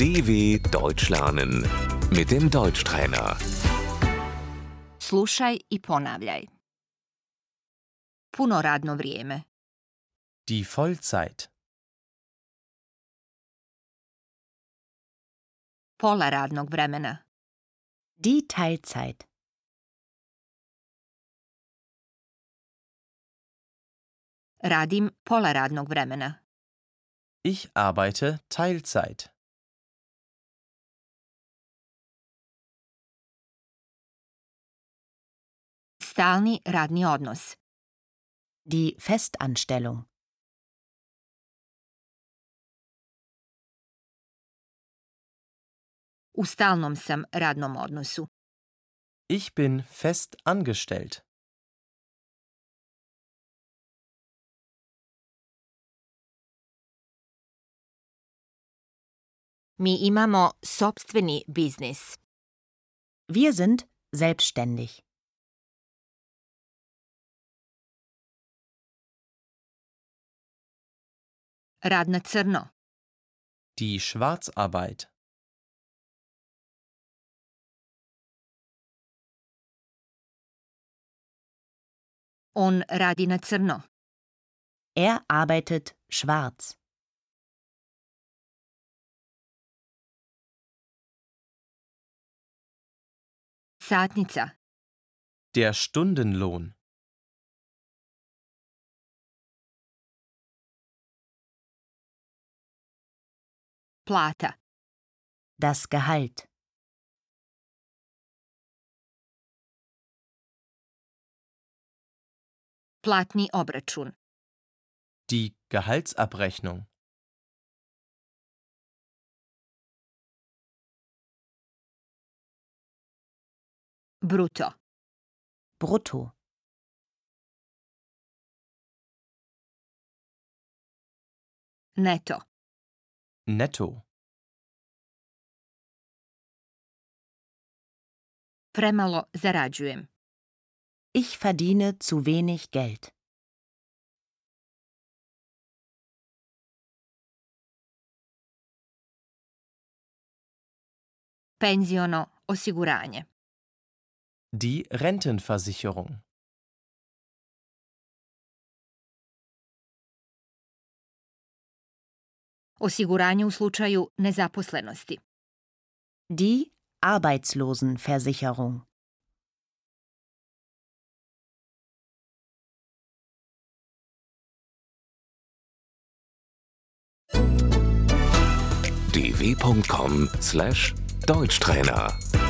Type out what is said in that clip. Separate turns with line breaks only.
DW Deutsch lernen mit dem Deutschtrainer.
Slušaj i ponavljaj. Puno radno vrijeme.
Die Vollzeit.
Pola radnog vremena.
Die Teilzeit.
Radim pola radnog vremena.
Ich arbeite Teilzeit.
Stalni radni odnos.
Die Festanstellung.
U stalnom sam radnom odnosu.
Ich bin fest angestellt.
Mi imamo sopstveni biznis.
Wir sind selbstständig.
Rad na crno.
Die Schwarzarbeit.
On radi na crno.
Er arbeitet schwarz.
Satnica.
Der Stundenlohn.
Plata.
Das Gehalt.
Platni obračun.
Die Gehaltsabrechnung.
Bruto.
Brutto.
Neto.
Netto.
Premalo zarađujem.
Ich verdiene zu wenig Geld.
Penziono osiguranje.
Die Rentenversicherung.
Osiguranje u slučaju nezaposlenosti.
Die Arbeitslosenversicherung.
dw.com/deutschtrainer